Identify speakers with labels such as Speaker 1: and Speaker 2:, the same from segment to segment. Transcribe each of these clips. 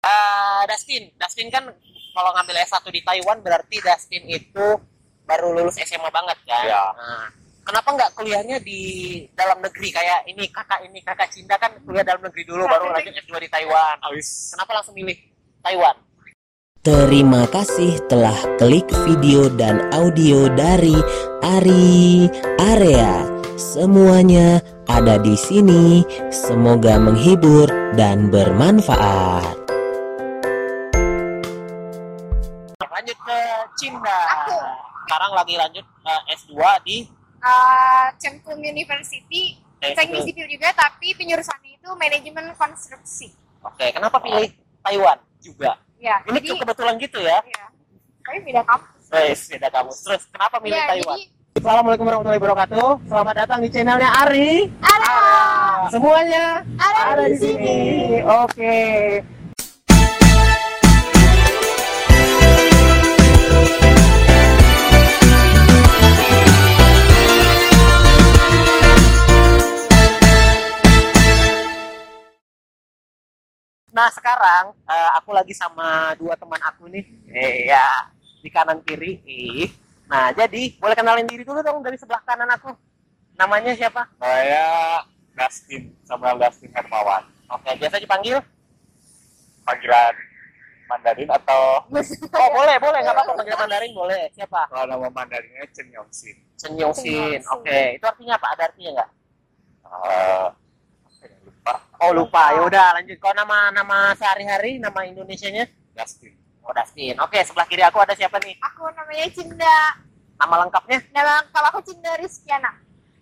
Speaker 1: Eh, Dustin. Dustin kan kalau ngambil S1 di Taiwan berarti Dustin itu baru lulus SMA banget kan.
Speaker 2: Iya.
Speaker 1: Nah, kenapa nggak kuliahnya di dalam negeri kayak ini kakak ini kakak Cinta kan kuliah dalam negeri dulu
Speaker 3: Nah,
Speaker 1: baru lanjut S2 di Taiwan.
Speaker 2: Awis.
Speaker 1: Kenapa langsung milih Taiwan?
Speaker 4: Terima kasih telah klik video dan audio dari Ari Area. Semuanya ada di sini. Semoga menghibur dan bermanfaat.
Speaker 1: Lanjut ke Cinta.
Speaker 3: Aku.
Speaker 1: Sekarang lagi lanjut eh, S2 di
Speaker 3: Eh, Cengkung University
Speaker 1: Eh,
Speaker 3: teknik sipil juga tapi penjurusannya itu manajemen konstruksi
Speaker 1: Oke, kenapa pilih Taiwan juga?
Speaker 3: ya
Speaker 1: Ini
Speaker 3: jadi
Speaker 1: kebetulan gitu ya.
Speaker 3: ya tapi beda kampus
Speaker 1: Guys, beda kamu. Terus kenapa milih
Speaker 3: ya
Speaker 1: Taiwan?
Speaker 3: jadi
Speaker 2: Assalamualaikum warahmatullahi wabarakatuh. Selamat datang di channelnya Ari.
Speaker 3: ada
Speaker 2: Semuanya
Speaker 3: ada,
Speaker 2: ada di sini. Oke.
Speaker 1: Nah sekarang eh, aku lagi sama dua teman aku nih. Iya. Di kanan kiri. Ih. Nah jadi boleh kenalin diri dulu dong dari sebelah kanan aku. Namanya siapa?
Speaker 2: Saya Dustin, Samuel Dustin Hermawan.
Speaker 1: Oke biasa dipanggil.
Speaker 2: Panggilan Mandarin atau
Speaker 1: Oh boleh boleh nggak apa-apa panggil Mandarin boleh. Siapa?
Speaker 2: kalau nama Mandarinnya Chen Yongxin.
Speaker 1: Senyum Sin.
Speaker 3: Senyum Sin.
Speaker 1: Oke itu artinya apa? Ada artinya nggak?
Speaker 2: Eh, saya lupa
Speaker 1: Oh lupa. Ya udah lanjut. Kalau nama nama sehari-hari nama Indonesianya?
Speaker 2: Dustin.
Speaker 1: Oh Dustin. Oke sebelah kiri aku ada siapa nih?
Speaker 3: aku namanya Cinda
Speaker 1: Nama lengkapnya
Speaker 3: nama kalau aku Cinda Rizkiana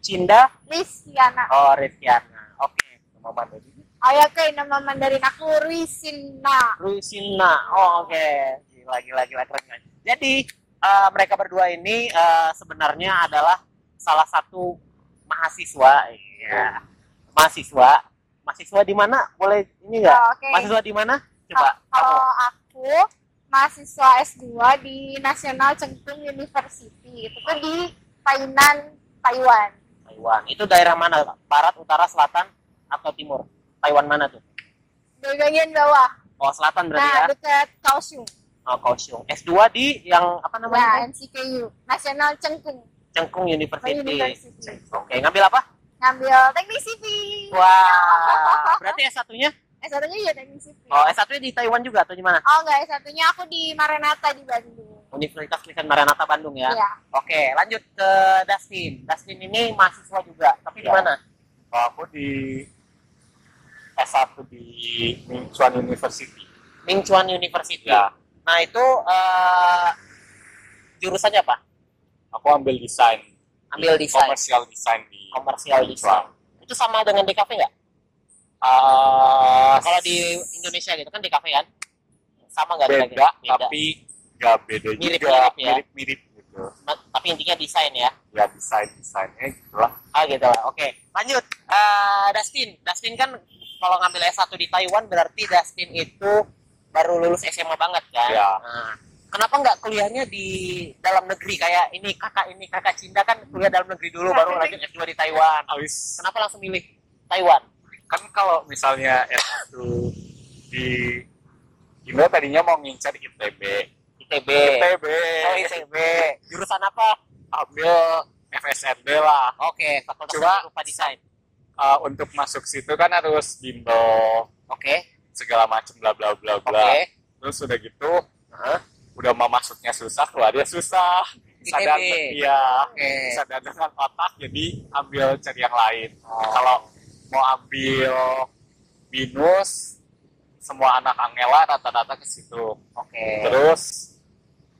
Speaker 1: Cinda.
Speaker 3: Rizkiana
Speaker 1: Oh Rizkiana. Oke.
Speaker 2: Nama Mandarin.
Speaker 3: oh ya oke nama Mandarin aku Rizina
Speaker 1: Rusina. Oh, oke. Gila, gila, gila. Keren, keren. Jadi, eh, mereka berdua ini eh, sebenarnya adalah salah satu mahasiswa. Iya. Mahasiswa. Mahasiswa di mana? Boleh ini enggak?
Speaker 3: Oh, oke
Speaker 1: Mahasiswa di mana? Coba.
Speaker 3: Ka- kalau aku mahasiswa S2 di National Chengkung University itu tuh di Tainan Taiwan
Speaker 1: kamu. Taiwan. Itu daerah mana? Pak? Barat, utara, selatan, atau timur? Taiwan mana tuh?
Speaker 3: di bagian bawah
Speaker 1: Oh, selatan berarti
Speaker 3: nah
Speaker 1: ya.
Speaker 3: dekat Kaohsiung
Speaker 1: Oh, Kaohsiung. S2 di yang apa
Speaker 3: ya
Speaker 1: namanya?
Speaker 3: NCKU National Chengkung
Speaker 1: Cengkung University.
Speaker 3: University Iya.
Speaker 1: Oke, ngambil apa?
Speaker 3: ngambil teknik sipil
Speaker 1: Wah. Berarti S1-nya?
Speaker 3: S1 nya ya teknik sipil
Speaker 2: eh.
Speaker 1: Oh, S1-nya di Taiwan juga atau di mana?
Speaker 3: oh enggak S1 nya aku di Maranatha di Bandung
Speaker 1: Universitas Kristen Maranatha Bandung ya.
Speaker 3: Iya.
Speaker 1: Oke, lanjut ke Dustin. Dustin ini mahasiswa juga, tapi di
Speaker 2: Iya.
Speaker 1: mana?
Speaker 2: Kalau aku di S1 di Mingchuan University.
Speaker 1: Mingchuan University.
Speaker 2: Ya,
Speaker 1: Nah, itu eh, jurusannya apa?
Speaker 2: aku ambil desain. Iya,
Speaker 1: Ambil desain.
Speaker 2: Komersial desain di
Speaker 1: Komersial design. Itu sama dengan DKV nggak?
Speaker 2: Eh,
Speaker 1: Kalau di Indonesia gitu kan DKV kan? Sama nggak?
Speaker 2: beda,
Speaker 1: kira-kira?
Speaker 2: tapi nggak beda
Speaker 1: Mirip-mirip
Speaker 2: juga
Speaker 1: ya?
Speaker 2: mirip-mirip gitu
Speaker 1: Ma- tapi intinya desain ya.
Speaker 2: ya desain desainnya gitulah
Speaker 1: Ah gitu lah. Oke, lanjut. Eh, Dustin, Dustin kan kalau ngambil S1 di Taiwan berarti Dustin itu baru lulus SMA banget kan?
Speaker 2: Iya.
Speaker 1: Nah, kenapa nggak kuliahnya di dalam negeri kayak ini kakak ini kakak Cinta kan kuliah dalam negeri dulu baru lanjut S2 di Taiwan.
Speaker 2: awis
Speaker 1: Kenapa langsung milih Taiwan?
Speaker 2: kan kalau misalnya S1 di Indo tadinya mau ngincer ITB
Speaker 1: ITB.
Speaker 2: ITB
Speaker 1: Oh, ITB. Jurusan apa?
Speaker 2: ambil FSNB lah
Speaker 1: Oke, Fakultas
Speaker 2: Coba.
Speaker 1: Seni Rupa Desain.
Speaker 2: Eh, untuk masuk situ kan harus bimbel
Speaker 1: Oke,
Speaker 2: segala macam bla bla bla
Speaker 1: oke.
Speaker 2: bla terus udah gitu
Speaker 1: Hah?
Speaker 2: udah mau masuknya susah keluarnya susah
Speaker 1: ITB.
Speaker 2: sadar iya
Speaker 1: Oke.
Speaker 2: sadar dengan otak jadi ambil cari yang lain
Speaker 1: Oh.
Speaker 2: kalau mau ambil binus semua anak angela rata-rata ke situ
Speaker 1: Oke.
Speaker 2: terus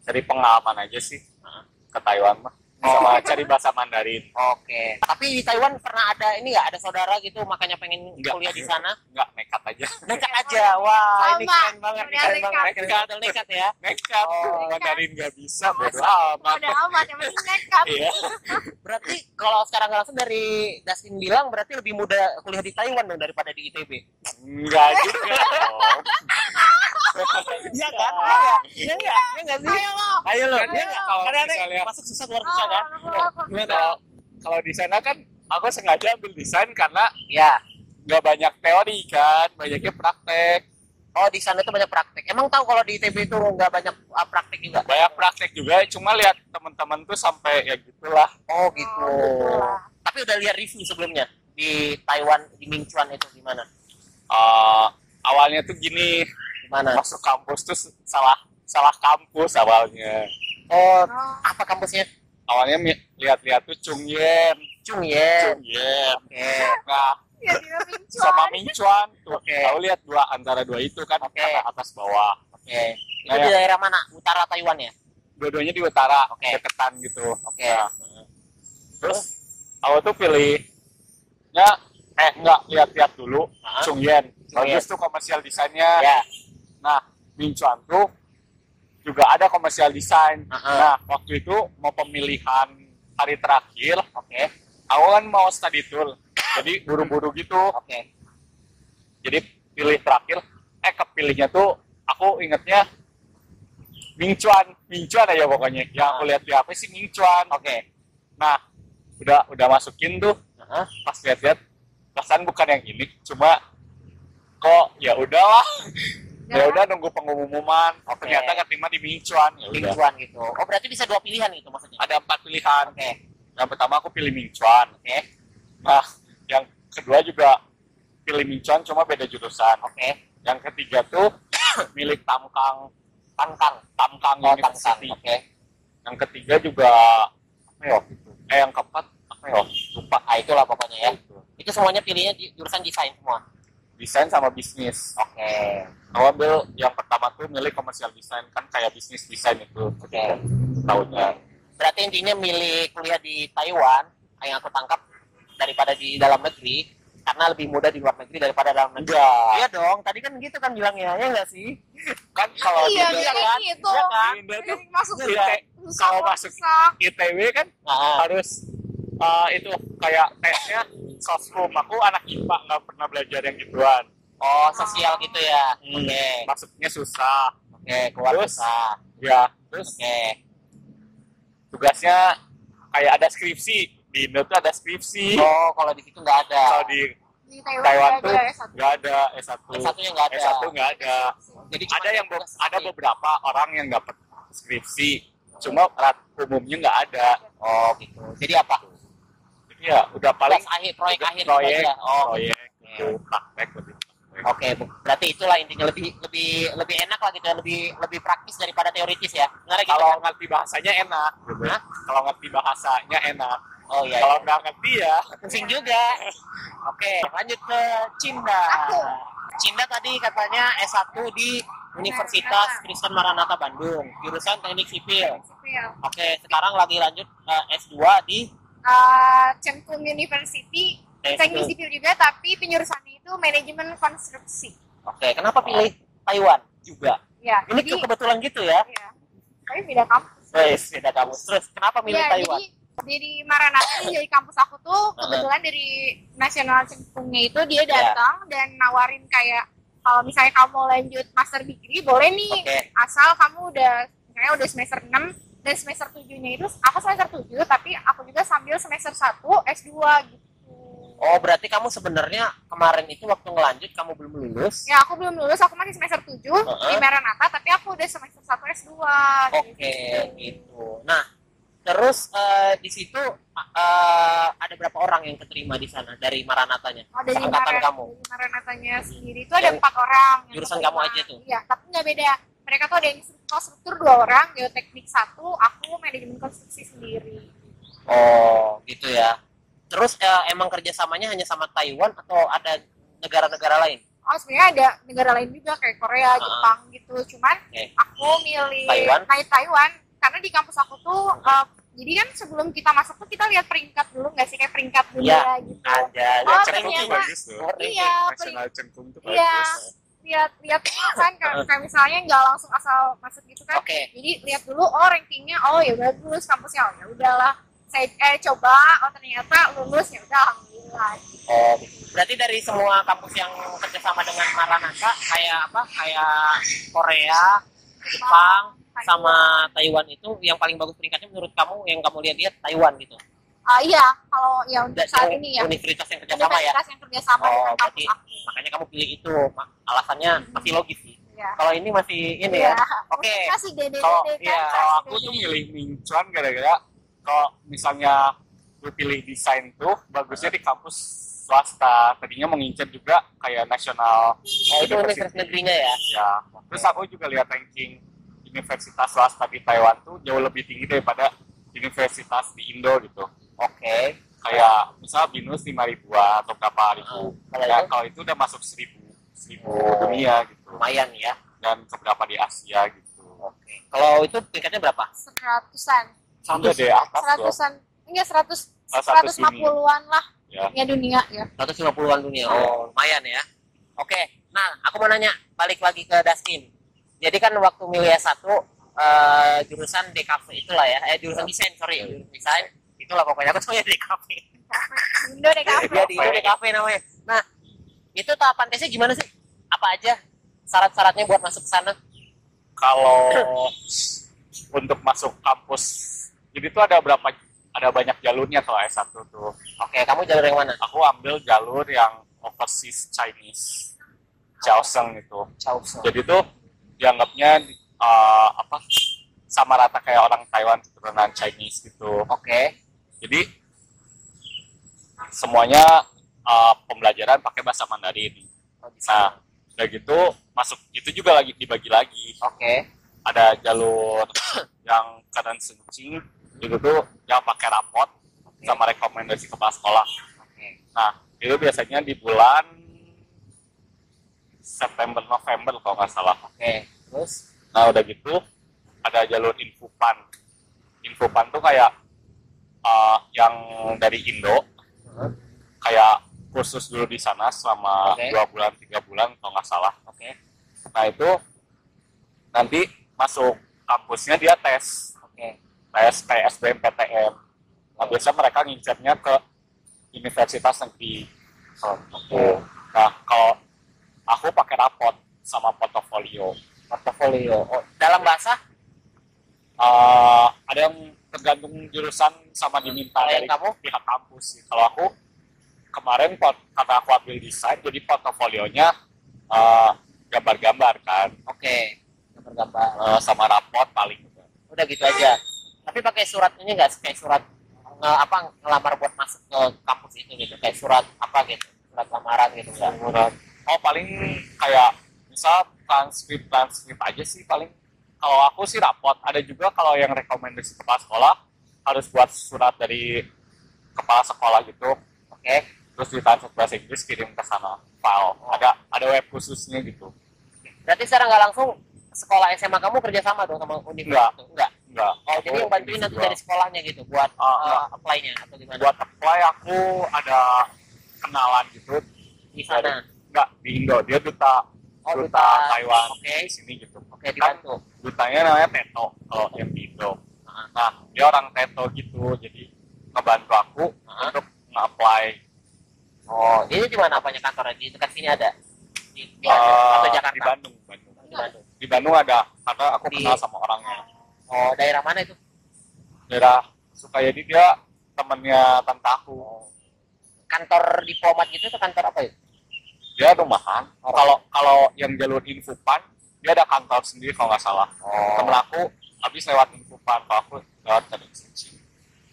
Speaker 2: cari pengalaman aja sih eh, ke Taiwan mah
Speaker 1: Oh.
Speaker 2: sama cari bahasa Mandarin
Speaker 1: Oke. Tapi di Taiwan pernah ada ini nggak ada saudara gitu makanya pengen
Speaker 2: Nggak.
Speaker 1: kuliah di sana?
Speaker 2: nggak nekat aja
Speaker 1: Nekat aja. Wah, ini
Speaker 3: Sama.
Speaker 1: keren banget. Ini keren
Speaker 3: Modal
Speaker 1: banget.
Speaker 2: nekat.
Speaker 1: Keren banget, nekat ya.
Speaker 2: nekat
Speaker 1: Oh.
Speaker 2: Mandarin nggak bisa bodo amat
Speaker 3: udah amat yang penting nekat
Speaker 2: iya
Speaker 1: Berarti kalau sekarang langsung dari Dustin bilang berarti lebih mudah kuliah di Taiwan dong daripada di ITB.
Speaker 2: nggak juga dong.
Speaker 1: Iya kan? Iya nggak? Iya nggak? Iya nggak sih?
Speaker 3: ayo lo
Speaker 1: Ayo loh.
Speaker 2: Kan
Speaker 1: Iya
Speaker 2: dia
Speaker 1: nggak?
Speaker 2: kalau
Speaker 1: Karena ada
Speaker 2: misalnya- Iya,
Speaker 1: masuk susah keluar
Speaker 3: Oh,
Speaker 1: susah kan?
Speaker 3: aku- aku-
Speaker 2: kalau kalau di sana kan aku sengaja ambil desain karena
Speaker 1: Iya.
Speaker 2: nggak banyak teori kan banyaknya praktek
Speaker 1: Oh, di sana itu banyak praktik. Emang tahu kalau di ITB itu nggak banyak ah, praktik juga?
Speaker 2: banyak praktek juga cuma lihat teman-teman tuh sampai ya gitulah
Speaker 1: Oh, gitu.
Speaker 3: Oh, gitu lah.
Speaker 1: Tapi udah lihat review sebelumnya di Taiwan di Mingchuan itu gimana?
Speaker 2: Eh, awalnya tuh gini
Speaker 1: Gimana?
Speaker 2: masuk kampus tuh salah salah kampus awalnya
Speaker 1: Oh,
Speaker 3: Oh,
Speaker 1: apa kampusnya?
Speaker 2: awalnya mi- lihat-lihat tuh Chung Yen
Speaker 1: Chung Yen.
Speaker 2: Chung Yen
Speaker 1: Eh. Oke.
Speaker 2: nah
Speaker 3: ya dia pincuan.
Speaker 2: sama Ming Chuan tuh
Speaker 1: Oke.
Speaker 2: Lalu lihat dua antara dua itu kan
Speaker 1: Oke.
Speaker 2: antara atas bawah
Speaker 1: Oke. Itu di daerah mana? Ya. Utara Taiwan ya?
Speaker 2: dua-duanya di utara
Speaker 1: Oke.
Speaker 2: deketan gitu
Speaker 1: Oke.
Speaker 2: Nah, terus awal tuh pilih ya eh enggak lihat-lihat dulu
Speaker 1: Hah?
Speaker 2: Chung Yen
Speaker 1: Chung Yen.
Speaker 2: bagus tuh komersial desainnya
Speaker 1: Ya.
Speaker 2: Nah, Ming Chuan tuh juga ada komersial desain.
Speaker 1: Heeh.
Speaker 2: Nah, waktu itu mau pemilihan hari terakhir,
Speaker 1: Oke.
Speaker 2: aku kan mau study tour. Jadi buru-buru gitu.
Speaker 1: Oke.
Speaker 2: Jadi pilih terakhir, eh kepilihnya tuh aku ingetnya Ming Chuan, Ming Chuan aja pokoknya. Yang aku lihat di HP sih Ming Chuan.
Speaker 1: Oke.
Speaker 2: Nah, udah udah masukin tuh
Speaker 1: Heeh.
Speaker 2: pas lihat-lihat perasaan bukan yang ini cuma kok ya udahlah ya udah nunggu pengumuman oh,
Speaker 1: Oke.
Speaker 2: ternyata keterima di Mingchuan ya udah.
Speaker 1: Mingchuan gitu. Oh, berarti bisa dua pilihan gitu maksudnya.
Speaker 2: ada empat pilihan
Speaker 1: Oke.
Speaker 2: yang pertama aku pilih Mingchuan
Speaker 1: Oke.
Speaker 2: nah yang kedua juga pilih Mingchuan cuma beda jurusan
Speaker 1: Oke.
Speaker 2: yang ketiga tuh milik Tamkang Tamkang Tamkang
Speaker 1: Oh, tangsan.
Speaker 2: University
Speaker 1: Oke.
Speaker 2: yang ketiga juga apa ya waktu itu? eh yang keempat apa ya waktu itu? lupa
Speaker 1: Ah, itulah pokoknya ya.
Speaker 2: ya
Speaker 1: Itu semuanya pilihnya di jurusan desain semua.
Speaker 2: desain sama bisnis
Speaker 1: Oke.
Speaker 2: Aku ambil yang pertama tuh milik komersial desain kan kayak bisnis desain itu
Speaker 1: Oke.
Speaker 2: tahunnya.
Speaker 1: Berarti intinya milih kuliah di Taiwan yang aku tangkap daripada di dalam negeri karena lebih mudah di luar negeri daripada dalam negeri.
Speaker 2: Enggak.
Speaker 1: Iya dong, tadi kan gitu kan bilangnya, ya nggak sih?
Speaker 2: Kan kalau
Speaker 3: Iya,
Speaker 2: di-
Speaker 3: dia kayak gitu.
Speaker 2: Iya kan? Dia tuh
Speaker 3: Jadi masuk
Speaker 2: Iya.
Speaker 3: susah
Speaker 2: Kalau
Speaker 3: kok,
Speaker 2: masuk-
Speaker 3: susah.
Speaker 2: ITW kan
Speaker 1: Nah,
Speaker 2: harus eh, itu kayak tesnya sosum. Aku anak IPA nggak pernah belajar yang gituan.
Speaker 1: oh sosial gitu ya.
Speaker 2: Hmm.
Speaker 1: Oke,
Speaker 2: Masuknya susah.
Speaker 1: oke, keluar
Speaker 2: Terus?
Speaker 1: desa.
Speaker 2: Ya, terus
Speaker 1: Oke,
Speaker 2: tugasnya kayak ada skripsi. Di Indo tuh ada skripsi.
Speaker 1: oh kalau di situ nggak
Speaker 2: Kalau
Speaker 1: ada.
Speaker 2: di
Speaker 3: Di Taiwan,
Speaker 2: Taiwan
Speaker 3: ada
Speaker 2: tuh
Speaker 3: ada satu.
Speaker 2: nggak ada S1.
Speaker 1: Satunya nggak ada.
Speaker 2: S1 nggak ada.
Speaker 1: Jadi cuma
Speaker 2: ada yang be-
Speaker 1: tugas
Speaker 2: ada
Speaker 1: sendiri.
Speaker 2: beberapa orang yang dapat skripsi cuma rat umumnya nggak ada
Speaker 1: Oh gitu. Jadi apa?
Speaker 2: Jadi ya udah paling
Speaker 1: Tugas akhir, proyek akhir gitu
Speaker 2: proyek ya?
Speaker 1: aja. Oh,
Speaker 2: proyek gitu, praktek lebih praktek.
Speaker 1: oke. Bu- Berarti itulah intinya lebih lebih lebih enak lah gitu, ya. lebih lebih praktis daripada teoritis ya. Benar gitu.
Speaker 2: kalau
Speaker 1: kan?
Speaker 2: ngerti bahasanya enak gitu. kalau ngerti bahasanya enak
Speaker 1: Oh iya.
Speaker 2: kalau nggak ngerti ya
Speaker 1: pusing juga. Oke, lanjut ke Cinda.
Speaker 3: Aku.
Speaker 1: Cinda tadi katanya S1 di Universitas
Speaker 3: Maranatha.
Speaker 1: Kristen Maranatha Bandung, jurusan Teknik Sipil.
Speaker 3: Itu ya.
Speaker 1: Oke, sekarang lagi lanjut eh, S2 di
Speaker 3: Eh, Cengkung University,
Speaker 1: Teknik
Speaker 3: teknik
Speaker 1: Sipil.
Speaker 3: sipil juga, tapi penjurusannya itu manajemen konstruksi.
Speaker 1: Oke, kenapa pilih Taiwan juga?
Speaker 3: Ya,
Speaker 1: Ini
Speaker 3: jadi,
Speaker 1: kebetulan gitu ya.
Speaker 3: ya. Tapi beda kampus.
Speaker 1: Wes, beda kamu. Terus kenapa milih
Speaker 3: Ya,
Speaker 1: Taiwan? Uh-huh.
Speaker 3: jadi jadi Maranatha ini dari kampus aku tuh kebetulan dari nasional cengkungnya itu dia datang dan nawarin kayak kalau misalnya kamu mau lanjut master degree boleh nih
Speaker 1: Oke.
Speaker 3: asal kamu udah misalnya udah semester 6 dan semester 7-nya itu aku semester 7 tapi aku juga sambil semester 1 S2 gitu.
Speaker 1: Oh, berarti kamu sebenarnya kemarin itu waktu ngelanjut kamu belum lulus.
Speaker 3: Ya, aku belum lulus, aku masih semester 7 di
Speaker 1: Heeh.
Speaker 3: Maranatha, tapi aku udah semester 1 S2.
Speaker 1: Oke, gitu. Nah, terus eh, di situ eh, ada berapa orang yang keterima di sana dari Maranatanya?
Speaker 3: Oh, dari
Speaker 1: Seangkatan
Speaker 3: Maran,
Speaker 1: kamu.
Speaker 3: dari Maranatanya sendiri itu ada
Speaker 1: Yang-
Speaker 3: empat orang. yang
Speaker 1: jurusan
Speaker 3: keterima.
Speaker 1: kamu aja tuh?
Speaker 3: Iya, tapi nggak beda. Mereka tuh ada yang struktur, struktur dua orang, geoteknik satu, aku manajemen konstruksi sendiri.
Speaker 1: Oh, gitu ya. Terus eh, emang kerjasamanya hanya sama Taiwan atau ada negara-negara lain?
Speaker 3: Oh, sebenarnya ada negara lain juga kayak
Speaker 1: Ah.
Speaker 3: Korea, Jepang gitu. Cuman
Speaker 1: Oke.
Speaker 3: aku milih
Speaker 1: Taiwan?
Speaker 3: naik Taiwan karena di kampus aku tuh eh, jadi kan sebelum kita masuk tuh kita lihat peringkat dulu nggak sih kayak peringkat
Speaker 1: Iya.
Speaker 3: dunia gitu.
Speaker 1: Ada.
Speaker 3: Oh,
Speaker 2: cengkung tuh
Speaker 3: ternyata.
Speaker 2: bagus tuh
Speaker 3: Iya,
Speaker 2: nasional cengkung tuh bagus
Speaker 3: Iya. Lihat lihat kan kayak kayak misalnya nggak langsung asal masuk gitu kan.
Speaker 1: Oke.
Speaker 3: jadi lihat dulu oh rankingnya oh ya bagus kampusnya oh ya udahlah saya eh coba oh ternyata lulus ya udah alhamdulillah
Speaker 1: Oh, berarti dari semua kampus yang kerjasama dengan Maranatha kayak apa? Kayak Korea, Jepang, sama Taiwan itu yang paling bagus peringkatnya menurut kamu yang kamu lihat-lihat Taiwan gitu.
Speaker 3: Ah, iya, kalau ya untuk
Speaker 1: Dan
Speaker 3: saat
Speaker 1: itu
Speaker 3: ini ya.
Speaker 1: Universitas yang kerjasama ya.
Speaker 3: Universitas yang kerjasama
Speaker 1: Oh,
Speaker 3: dengan kampus
Speaker 1: berarti-
Speaker 3: aku.
Speaker 1: Makanya kamu pilih itu. Ma-
Speaker 3: Hmm.
Speaker 1: Alasannya masih logis sih.
Speaker 3: Iya.
Speaker 1: Kalau ini masih ini ya. Oke.
Speaker 3: Mungkin Masih dede-dede
Speaker 2: kalau
Speaker 3: kan.
Speaker 2: iya,
Speaker 3: masih
Speaker 2: kalau aku
Speaker 3: dede-dede.
Speaker 2: tuh milih mincuan gara-gara kalau misalnya gue pilih desain tuh bagusnya di kampus swasta tadinya mengincar juga kayak nasional
Speaker 1: Oh, itu universitas negerinya ya.
Speaker 2: ya terus aku juga lihat ranking universitas swasta di Taiwan tuh jauh lebih tinggi daripada universitas di Indo gitu
Speaker 1: Oke.
Speaker 2: kayak misal binus lima ribuan atau berapa ribu
Speaker 1: Ah, Kalau
Speaker 2: ya
Speaker 1: itu
Speaker 2: kalau itu udah masuk seribu seribu
Speaker 1: Oh.
Speaker 2: dunia gitu
Speaker 1: lumayan ya.
Speaker 2: dan keberapa di Asia gitu
Speaker 1: Oke. Kalau itu tingkatnya berapa?
Speaker 3: seratusan,
Speaker 2: udah deh atas tuh
Speaker 3: seratusan, enggak seratus,
Speaker 2: Ah,
Speaker 3: seratus
Speaker 2: seratus
Speaker 3: lima puluhan lah
Speaker 2: ya
Speaker 3: ya dunia ya.
Speaker 1: 150-an dunia.
Speaker 3: Iya.
Speaker 1: Oh, lumayan ya. Oke. Nah, aku mau nanya balik lagi ke Dustin. Jadi kan waktu milih S1 eh, jurusan DKV itulah ya. Eh jurusan
Speaker 3: Iya.
Speaker 1: desain, sorry, jurusan desain. Itulah pokoknya aku tahunya DKV.
Speaker 3: Indo deh kafe.
Speaker 1: Jadi itu DKV namanya. Nah, itu tahapan tesnya gimana sih? Apa aja syarat-syaratnya buat masuk ke sana?
Speaker 2: kalau untuk masuk kampus jadi tuh ada berapa ada banyak jalurnya kalau S1 tuh
Speaker 1: Oke, kamu jalur yang mana?
Speaker 2: aku ambil jalur yang overseas Chinese Chaoseng itu
Speaker 1: Chaoso.
Speaker 2: jadi tuh dianggapnya eh, apa sama rata kayak orang Taiwan keturunan Chinese gitu
Speaker 1: Oke.
Speaker 2: jadi semuanya eh, pembelajaran pakai bahasa Mandarin
Speaker 1: Oh, di
Speaker 2: nah
Speaker 1: sana.
Speaker 2: udah gitu masuk itu juga lagi dibagi lagi
Speaker 1: Oke.
Speaker 2: ada jalur yang keadaan sencing itu tuh yang pakai rapot
Speaker 1: Oke.
Speaker 2: sama rekomendasi kepala sekolah Nah,
Speaker 1: Oke.
Speaker 2: itu biasanya di bulan September November kalau nggak salah
Speaker 1: Oke. Terus
Speaker 2: nah udah gitu ada jalur infopan infopan tuh kayak eh, yang dari Indo
Speaker 1: Heeh.
Speaker 2: kayak kursus dulu di sana selama
Speaker 1: Oke.
Speaker 2: dua bulan tiga bulan kalau nggak salah
Speaker 1: oke.
Speaker 2: nah itu nanti masuk kampusnya dia tes
Speaker 1: Oke.
Speaker 2: tes PSBMPTN. Nah, biasanya mereka ngincernya ke universitas negeri. Oke. Nah, kalau aku pakai rapot sama portofolio.
Speaker 1: Portfolio. Oh, dalam bahasa
Speaker 2: Eh, ada yang tergantung jurusan sama diminta
Speaker 1: Kalau yang
Speaker 2: dari
Speaker 1: kamu?
Speaker 2: pihak kampus sih. Kalau aku kemarin pot- karena aku ambil desain, jadi portofolionya eh, gambar-gambar kan
Speaker 1: Oke, gambar gambar.
Speaker 2: Eh, sama rapot paling.
Speaker 1: Udah gitu aja. Tapi pakai surat ini enggak kayak surat nge- apa ngelamar buat masuk ke kampus itu gitu, kayak surat apa gitu, surat lamaran gitu enggak.
Speaker 2: Oh paling kayak misal transkrip transkrip aja sih paling. Kalau aku sih rapot. Ada juga kalau yang rekomendasi kepala sekolah harus buat surat dari kepala sekolah gitu.
Speaker 1: Oke.
Speaker 2: Terus ditransfer bahasa Inggris kirim ke sana file.
Speaker 1: Oh.
Speaker 2: Ada ada web khususnya gitu.
Speaker 1: Berarti secara nggak langsung sekolah SMA kamu kerja sama dong sama universitas
Speaker 2: Enggak.
Speaker 1: itu? Enggak.
Speaker 2: Enggak.
Speaker 1: Oh, jadi yang bantuin nanti dari sekolahnya gitu buat
Speaker 2: Ah,
Speaker 1: uh, apply-nya atau gimana?
Speaker 2: buat apply aku ada kenalan gitu.
Speaker 1: di sana.
Speaker 2: Enggak di Indo dia duta
Speaker 1: Oh,
Speaker 2: duta,
Speaker 1: duta.
Speaker 2: Taiwan
Speaker 1: Oke.
Speaker 2: di sini gitu.
Speaker 1: Oke, dibantu. Ah.
Speaker 2: dutanya namanya Teto kalau yang di Indo nah dia orang Teto gitu jadi ngebantu aku
Speaker 1: Hah?
Speaker 2: untuk nge-apply
Speaker 1: Oh, ini di mana apanya kantornya? Di dekat sini ada. Di, di
Speaker 2: eh,
Speaker 1: atau Iya, Jakarta?
Speaker 2: di Bandung Bandung
Speaker 1: Di Bandung.
Speaker 2: di Bandung ada karena aku
Speaker 1: Di-
Speaker 2: kenal sama orangnya
Speaker 1: Oh, daerah mana itu?
Speaker 2: daerah Sukayadi dia temennya tante aku
Speaker 1: Kantor diplomat gitu atau kantor apa ya?
Speaker 2: dia rumahan kalau kalau yang jalur infopan dia ada kantor sendiri kalau nggak salah
Speaker 1: Oh.
Speaker 2: temen aku habis lewat infopan kalau aku lewat keadaan sencing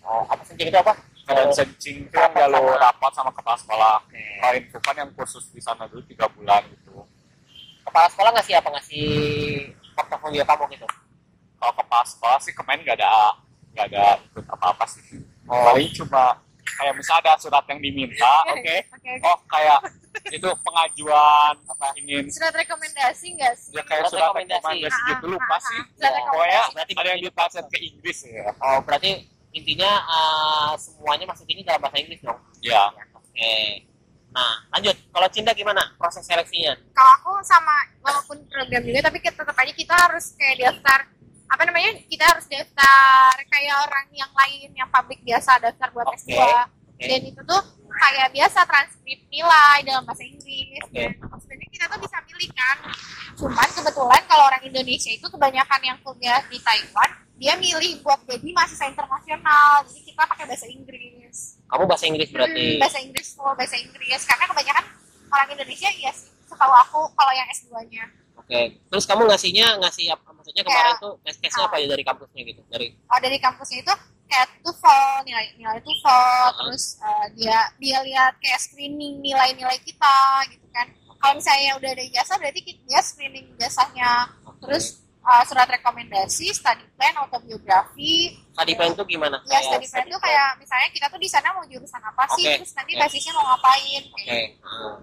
Speaker 1: Oh, apa senjata itu apa?
Speaker 2: keadaan
Speaker 1: Oh.
Speaker 2: sencing itu yang kan jalur rapat sama kepala sekolah kalau infopan yang kursus di sana dulu tiga bulan gitu
Speaker 1: Kepala sekolah ngasih apa? Ngasih portofolio kamu gitu?
Speaker 2: kalau kepala sekolah sih kemarin nggak ada nggak ada ikut apa-apa sih
Speaker 1: Oh.
Speaker 2: paling cuma kayak misal ada surat yang diminta oke
Speaker 3: Oke.
Speaker 2: oh kayak itu pengajuan apa ingin
Speaker 3: Surat rekomendasi nggak sih?
Speaker 2: ya kayak
Speaker 1: Surat
Speaker 2: surat
Speaker 1: rekomendasi.
Speaker 3: Ah,
Speaker 2: rekomendasi gitu lupa sih
Speaker 3: Surat
Speaker 1: Ya,
Speaker 2: pokoknya
Speaker 3: rekomendasi.
Speaker 1: Berarti
Speaker 2: ada yang ditranslate ke Inggris ya
Speaker 1: Oh, berarti intinya eh, semuanya masuk ini dalam bahasa Inggris dong?
Speaker 2: ya
Speaker 1: Oke. Nah, lanjut. Kalau Cinta gimana proses seleksinya?
Speaker 3: Kalau aku sama walaupun program juga tapi kita tetap aja kita harus kayak daftar apa namanya? Kita harus daftar kayak orang yang lain yang publik biasa daftar buat
Speaker 1: Oke.
Speaker 3: S2. Dan itu tuh kayak biasa transkrip nilai dalam bahasa Inggris.
Speaker 1: Oke.
Speaker 3: Dan Sebenarnya kita tuh bisa milih kan. Cuman kebetulan kalau orang Indonesia itu kebanyakan yang kuliah di Taiwan, dia milih buat jadi mahasiswa internasional. Jadi kita pakai bahasa Inggris.
Speaker 1: Kamu bahasa Inggris berarti.
Speaker 3: Hmm, bahasa Inggris full bahasa Inggris karena kebanyakan orang Indonesia ya sih setahu aku kalau yang S2-nya
Speaker 1: Oke. Terus kamu ngasihnya ngasih apa? Maksudnya kemarin
Speaker 3: Kayak-
Speaker 1: tuh tes tesnya apa ya dari kampusnya gitu? Dari
Speaker 3: oh dari kampusnya itu kayak TOEFL nilai nilai TOEFL
Speaker 1: Uh-huh.
Speaker 3: terus eh, dia dia lihat kayak screening nilai-nilai kita gitu kan kalau misalnya udah ada ijazah berarti ki- dia screening ijazahnya
Speaker 1: oke.
Speaker 3: terus eh, surat rekomendasi study plan autobiografi
Speaker 1: study plan tuh gimana?
Speaker 3: ya
Speaker 1: Kayak
Speaker 3: study
Speaker 1: Iya,
Speaker 3: plan
Speaker 1: study
Speaker 3: tuh kayak misalnya kita tuh di sana mau jurusan apa sih
Speaker 1: Oke.
Speaker 3: terus nanti
Speaker 1: Oke.
Speaker 3: basisnya mau ngapain
Speaker 1: Oke.
Speaker 3: kayak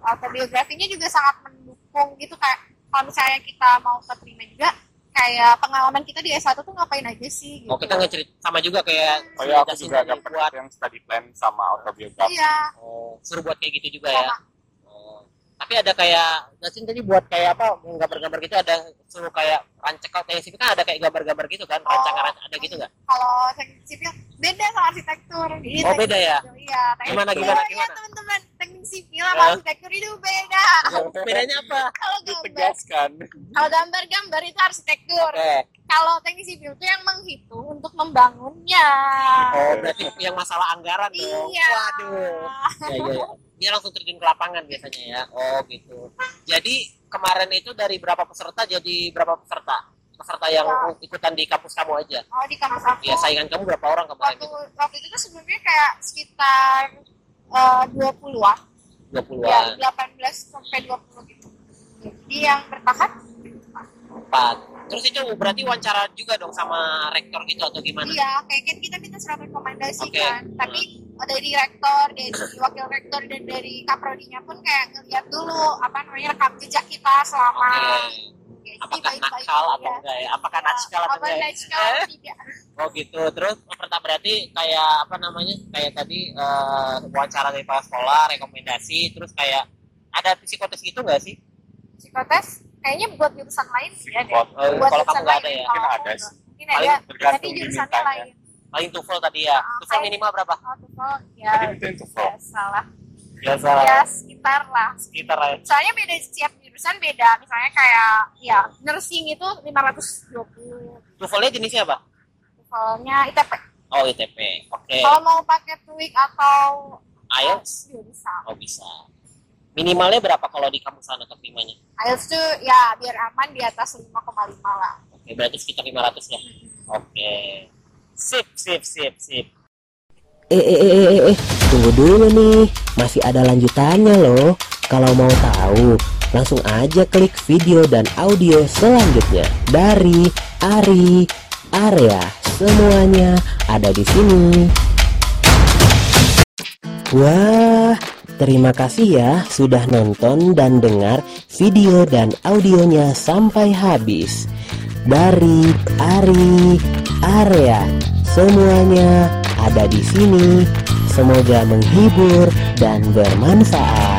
Speaker 1: Ah,
Speaker 3: autobiografinya juga sangat mendukung gitu kayak kalau misalnya kita mau keterima juga kayak pengalaman kita di S1 tuh ngapain aja sih gitu.
Speaker 1: Oh kita nggak cerita sama juga kayak
Speaker 2: Oh ya, aku
Speaker 1: jelasin
Speaker 2: juga
Speaker 1: dari
Speaker 2: dapat
Speaker 1: buat
Speaker 2: yang study plan sama autobiografi.
Speaker 3: Iya,
Speaker 1: oh, suruh buat kayak gitu juga ya.
Speaker 3: sama.
Speaker 1: Oh. Tapi ada kayak Justin tadi buat kayak apa yang gambar-gambar gitu ada suruh kayak rancakal kayak sini kan ada kayak gambar-gambar gitu kan
Speaker 3: Oh.
Speaker 1: rancangan ada gitu nggak?
Speaker 3: Kalau teknik sipil beda sama arsitektur. Jadi
Speaker 1: Oh,
Speaker 3: teknik
Speaker 1: beda ya?
Speaker 3: sipil, Iya, teknik
Speaker 1: Gimana,
Speaker 3: sipil,
Speaker 1: gimana,
Speaker 3: iya,
Speaker 1: gimana?
Speaker 3: teman-teman, teknik sipil sama
Speaker 1: Ya.
Speaker 3: arsitektur itu beda.
Speaker 1: Bedanya apa?
Speaker 3: Kalau gambar,
Speaker 2: Ditegaskan.
Speaker 3: kalau gambar-gambar itu arsitektur.
Speaker 1: Oke.
Speaker 3: Kalau teknik sipil itu yang menghitung untuk membangunnya.
Speaker 1: Oh berarti yang masalah anggaran dong.
Speaker 3: Iya.
Speaker 1: Oh, Waduh. ya, ya, ya. Dia langsung terjun ke lapangan biasanya ya. Oh gitu. Jadi kemarin itu dari berapa peserta jadi berapa peserta? Peserta yang
Speaker 3: Ya.
Speaker 1: ikutan di kampus kamu aja.
Speaker 3: Oh, di kampus aku.
Speaker 1: Ya saingan kamu berapa orang kemarin?
Speaker 3: waktu waktu itu tuh sebelumnya kayak sekitar eh, 20-an,
Speaker 1: Dua puluh
Speaker 3: ya
Speaker 1: an
Speaker 3: 18 sampai 20 gitu. Jadi yang bertahan
Speaker 1: empat. Terus itu berarti wawancara juga dong sama rektor gitu atau gimana?
Speaker 3: iya kayak kan kita minta surat rekomendasi
Speaker 1: Oke.
Speaker 3: kan. Tapi dari rektor, dari wakil rektor dan dari kaprodinya pun kayak ngeliat dulu apa namanya rekam jejak kita selama
Speaker 1: Oke.
Speaker 3: ya, jadi
Speaker 1: Apakah nakal atau
Speaker 3: ya.
Speaker 1: enggak ya? Apakah nakal atau
Speaker 3: Apa
Speaker 1: enggak? ya?
Speaker 3: naskal
Speaker 1: Eh?
Speaker 3: atau tidak?
Speaker 1: Oh gitu. Terus pertama berarti kayak apa namanya? Kayak tadi eh, wawancara dari kepala sekolah, rekomendasi, tertes kayak ada psikotes gitu nggak sih?
Speaker 3: Psikotes kayaknya buat jurusan lain sih ya. deh.
Speaker 2: Buat,
Speaker 1: Eh,
Speaker 3: Buat
Speaker 1: kalau kamu
Speaker 3: jurusan
Speaker 1: nggak
Speaker 3: lain,
Speaker 1: ada ya?
Speaker 3: kalau
Speaker 2: Mungkin
Speaker 3: aku
Speaker 2: ada
Speaker 3: nggak.
Speaker 2: sih.
Speaker 3: Mungkin ada, tapi
Speaker 2: tergantung ya.
Speaker 3: jurusannya
Speaker 2: dimintanya.
Speaker 3: lain.
Speaker 1: Paling TOEFL tadi ya.
Speaker 3: Ah,
Speaker 1: TOEFL
Speaker 3: kayak-
Speaker 1: minimal berapa?
Speaker 3: Oh, TOEFL ya,
Speaker 2: Tadi itu yang TOEFL.
Speaker 3: ya salah.
Speaker 1: Biasa.
Speaker 3: Ya sekitar lah.
Speaker 1: Sekitar ya.
Speaker 3: Soalnya beda setiap jurusan beda. Misalnya kayak ya nursing itu 520
Speaker 1: TOEFL-nya jenisnya apa?
Speaker 3: TOEFL-nya ITP.
Speaker 1: Oh, ITP. Oke.
Speaker 3: Kalau mau pakai TOEIC atau
Speaker 1: IELTS
Speaker 3: juga bisa.
Speaker 1: oh bisa. Minimalnya berapa kalau di kampus sana terimanya?
Speaker 3: IELTS tuh ya biar aman di atas 5,5 lah.
Speaker 1: Oke, berarti sekitar 500 ya. Oke. Sip, sip, sip, sip.
Speaker 4: Eh, eh, eh, eh, eh, eh, tunggu dulu nih, masih ada lanjutannya loh. Kalau mau tahu, langsung aja klik video dan audio selanjutnya dari Ari Area. Semuanya ada di sini. Wah, terima kasih ya sudah nonton dan dengar video dan audionya sampai habis. Dari Ari Area, semuanya ada di sini. Semoga menghibur dan bermanfaat.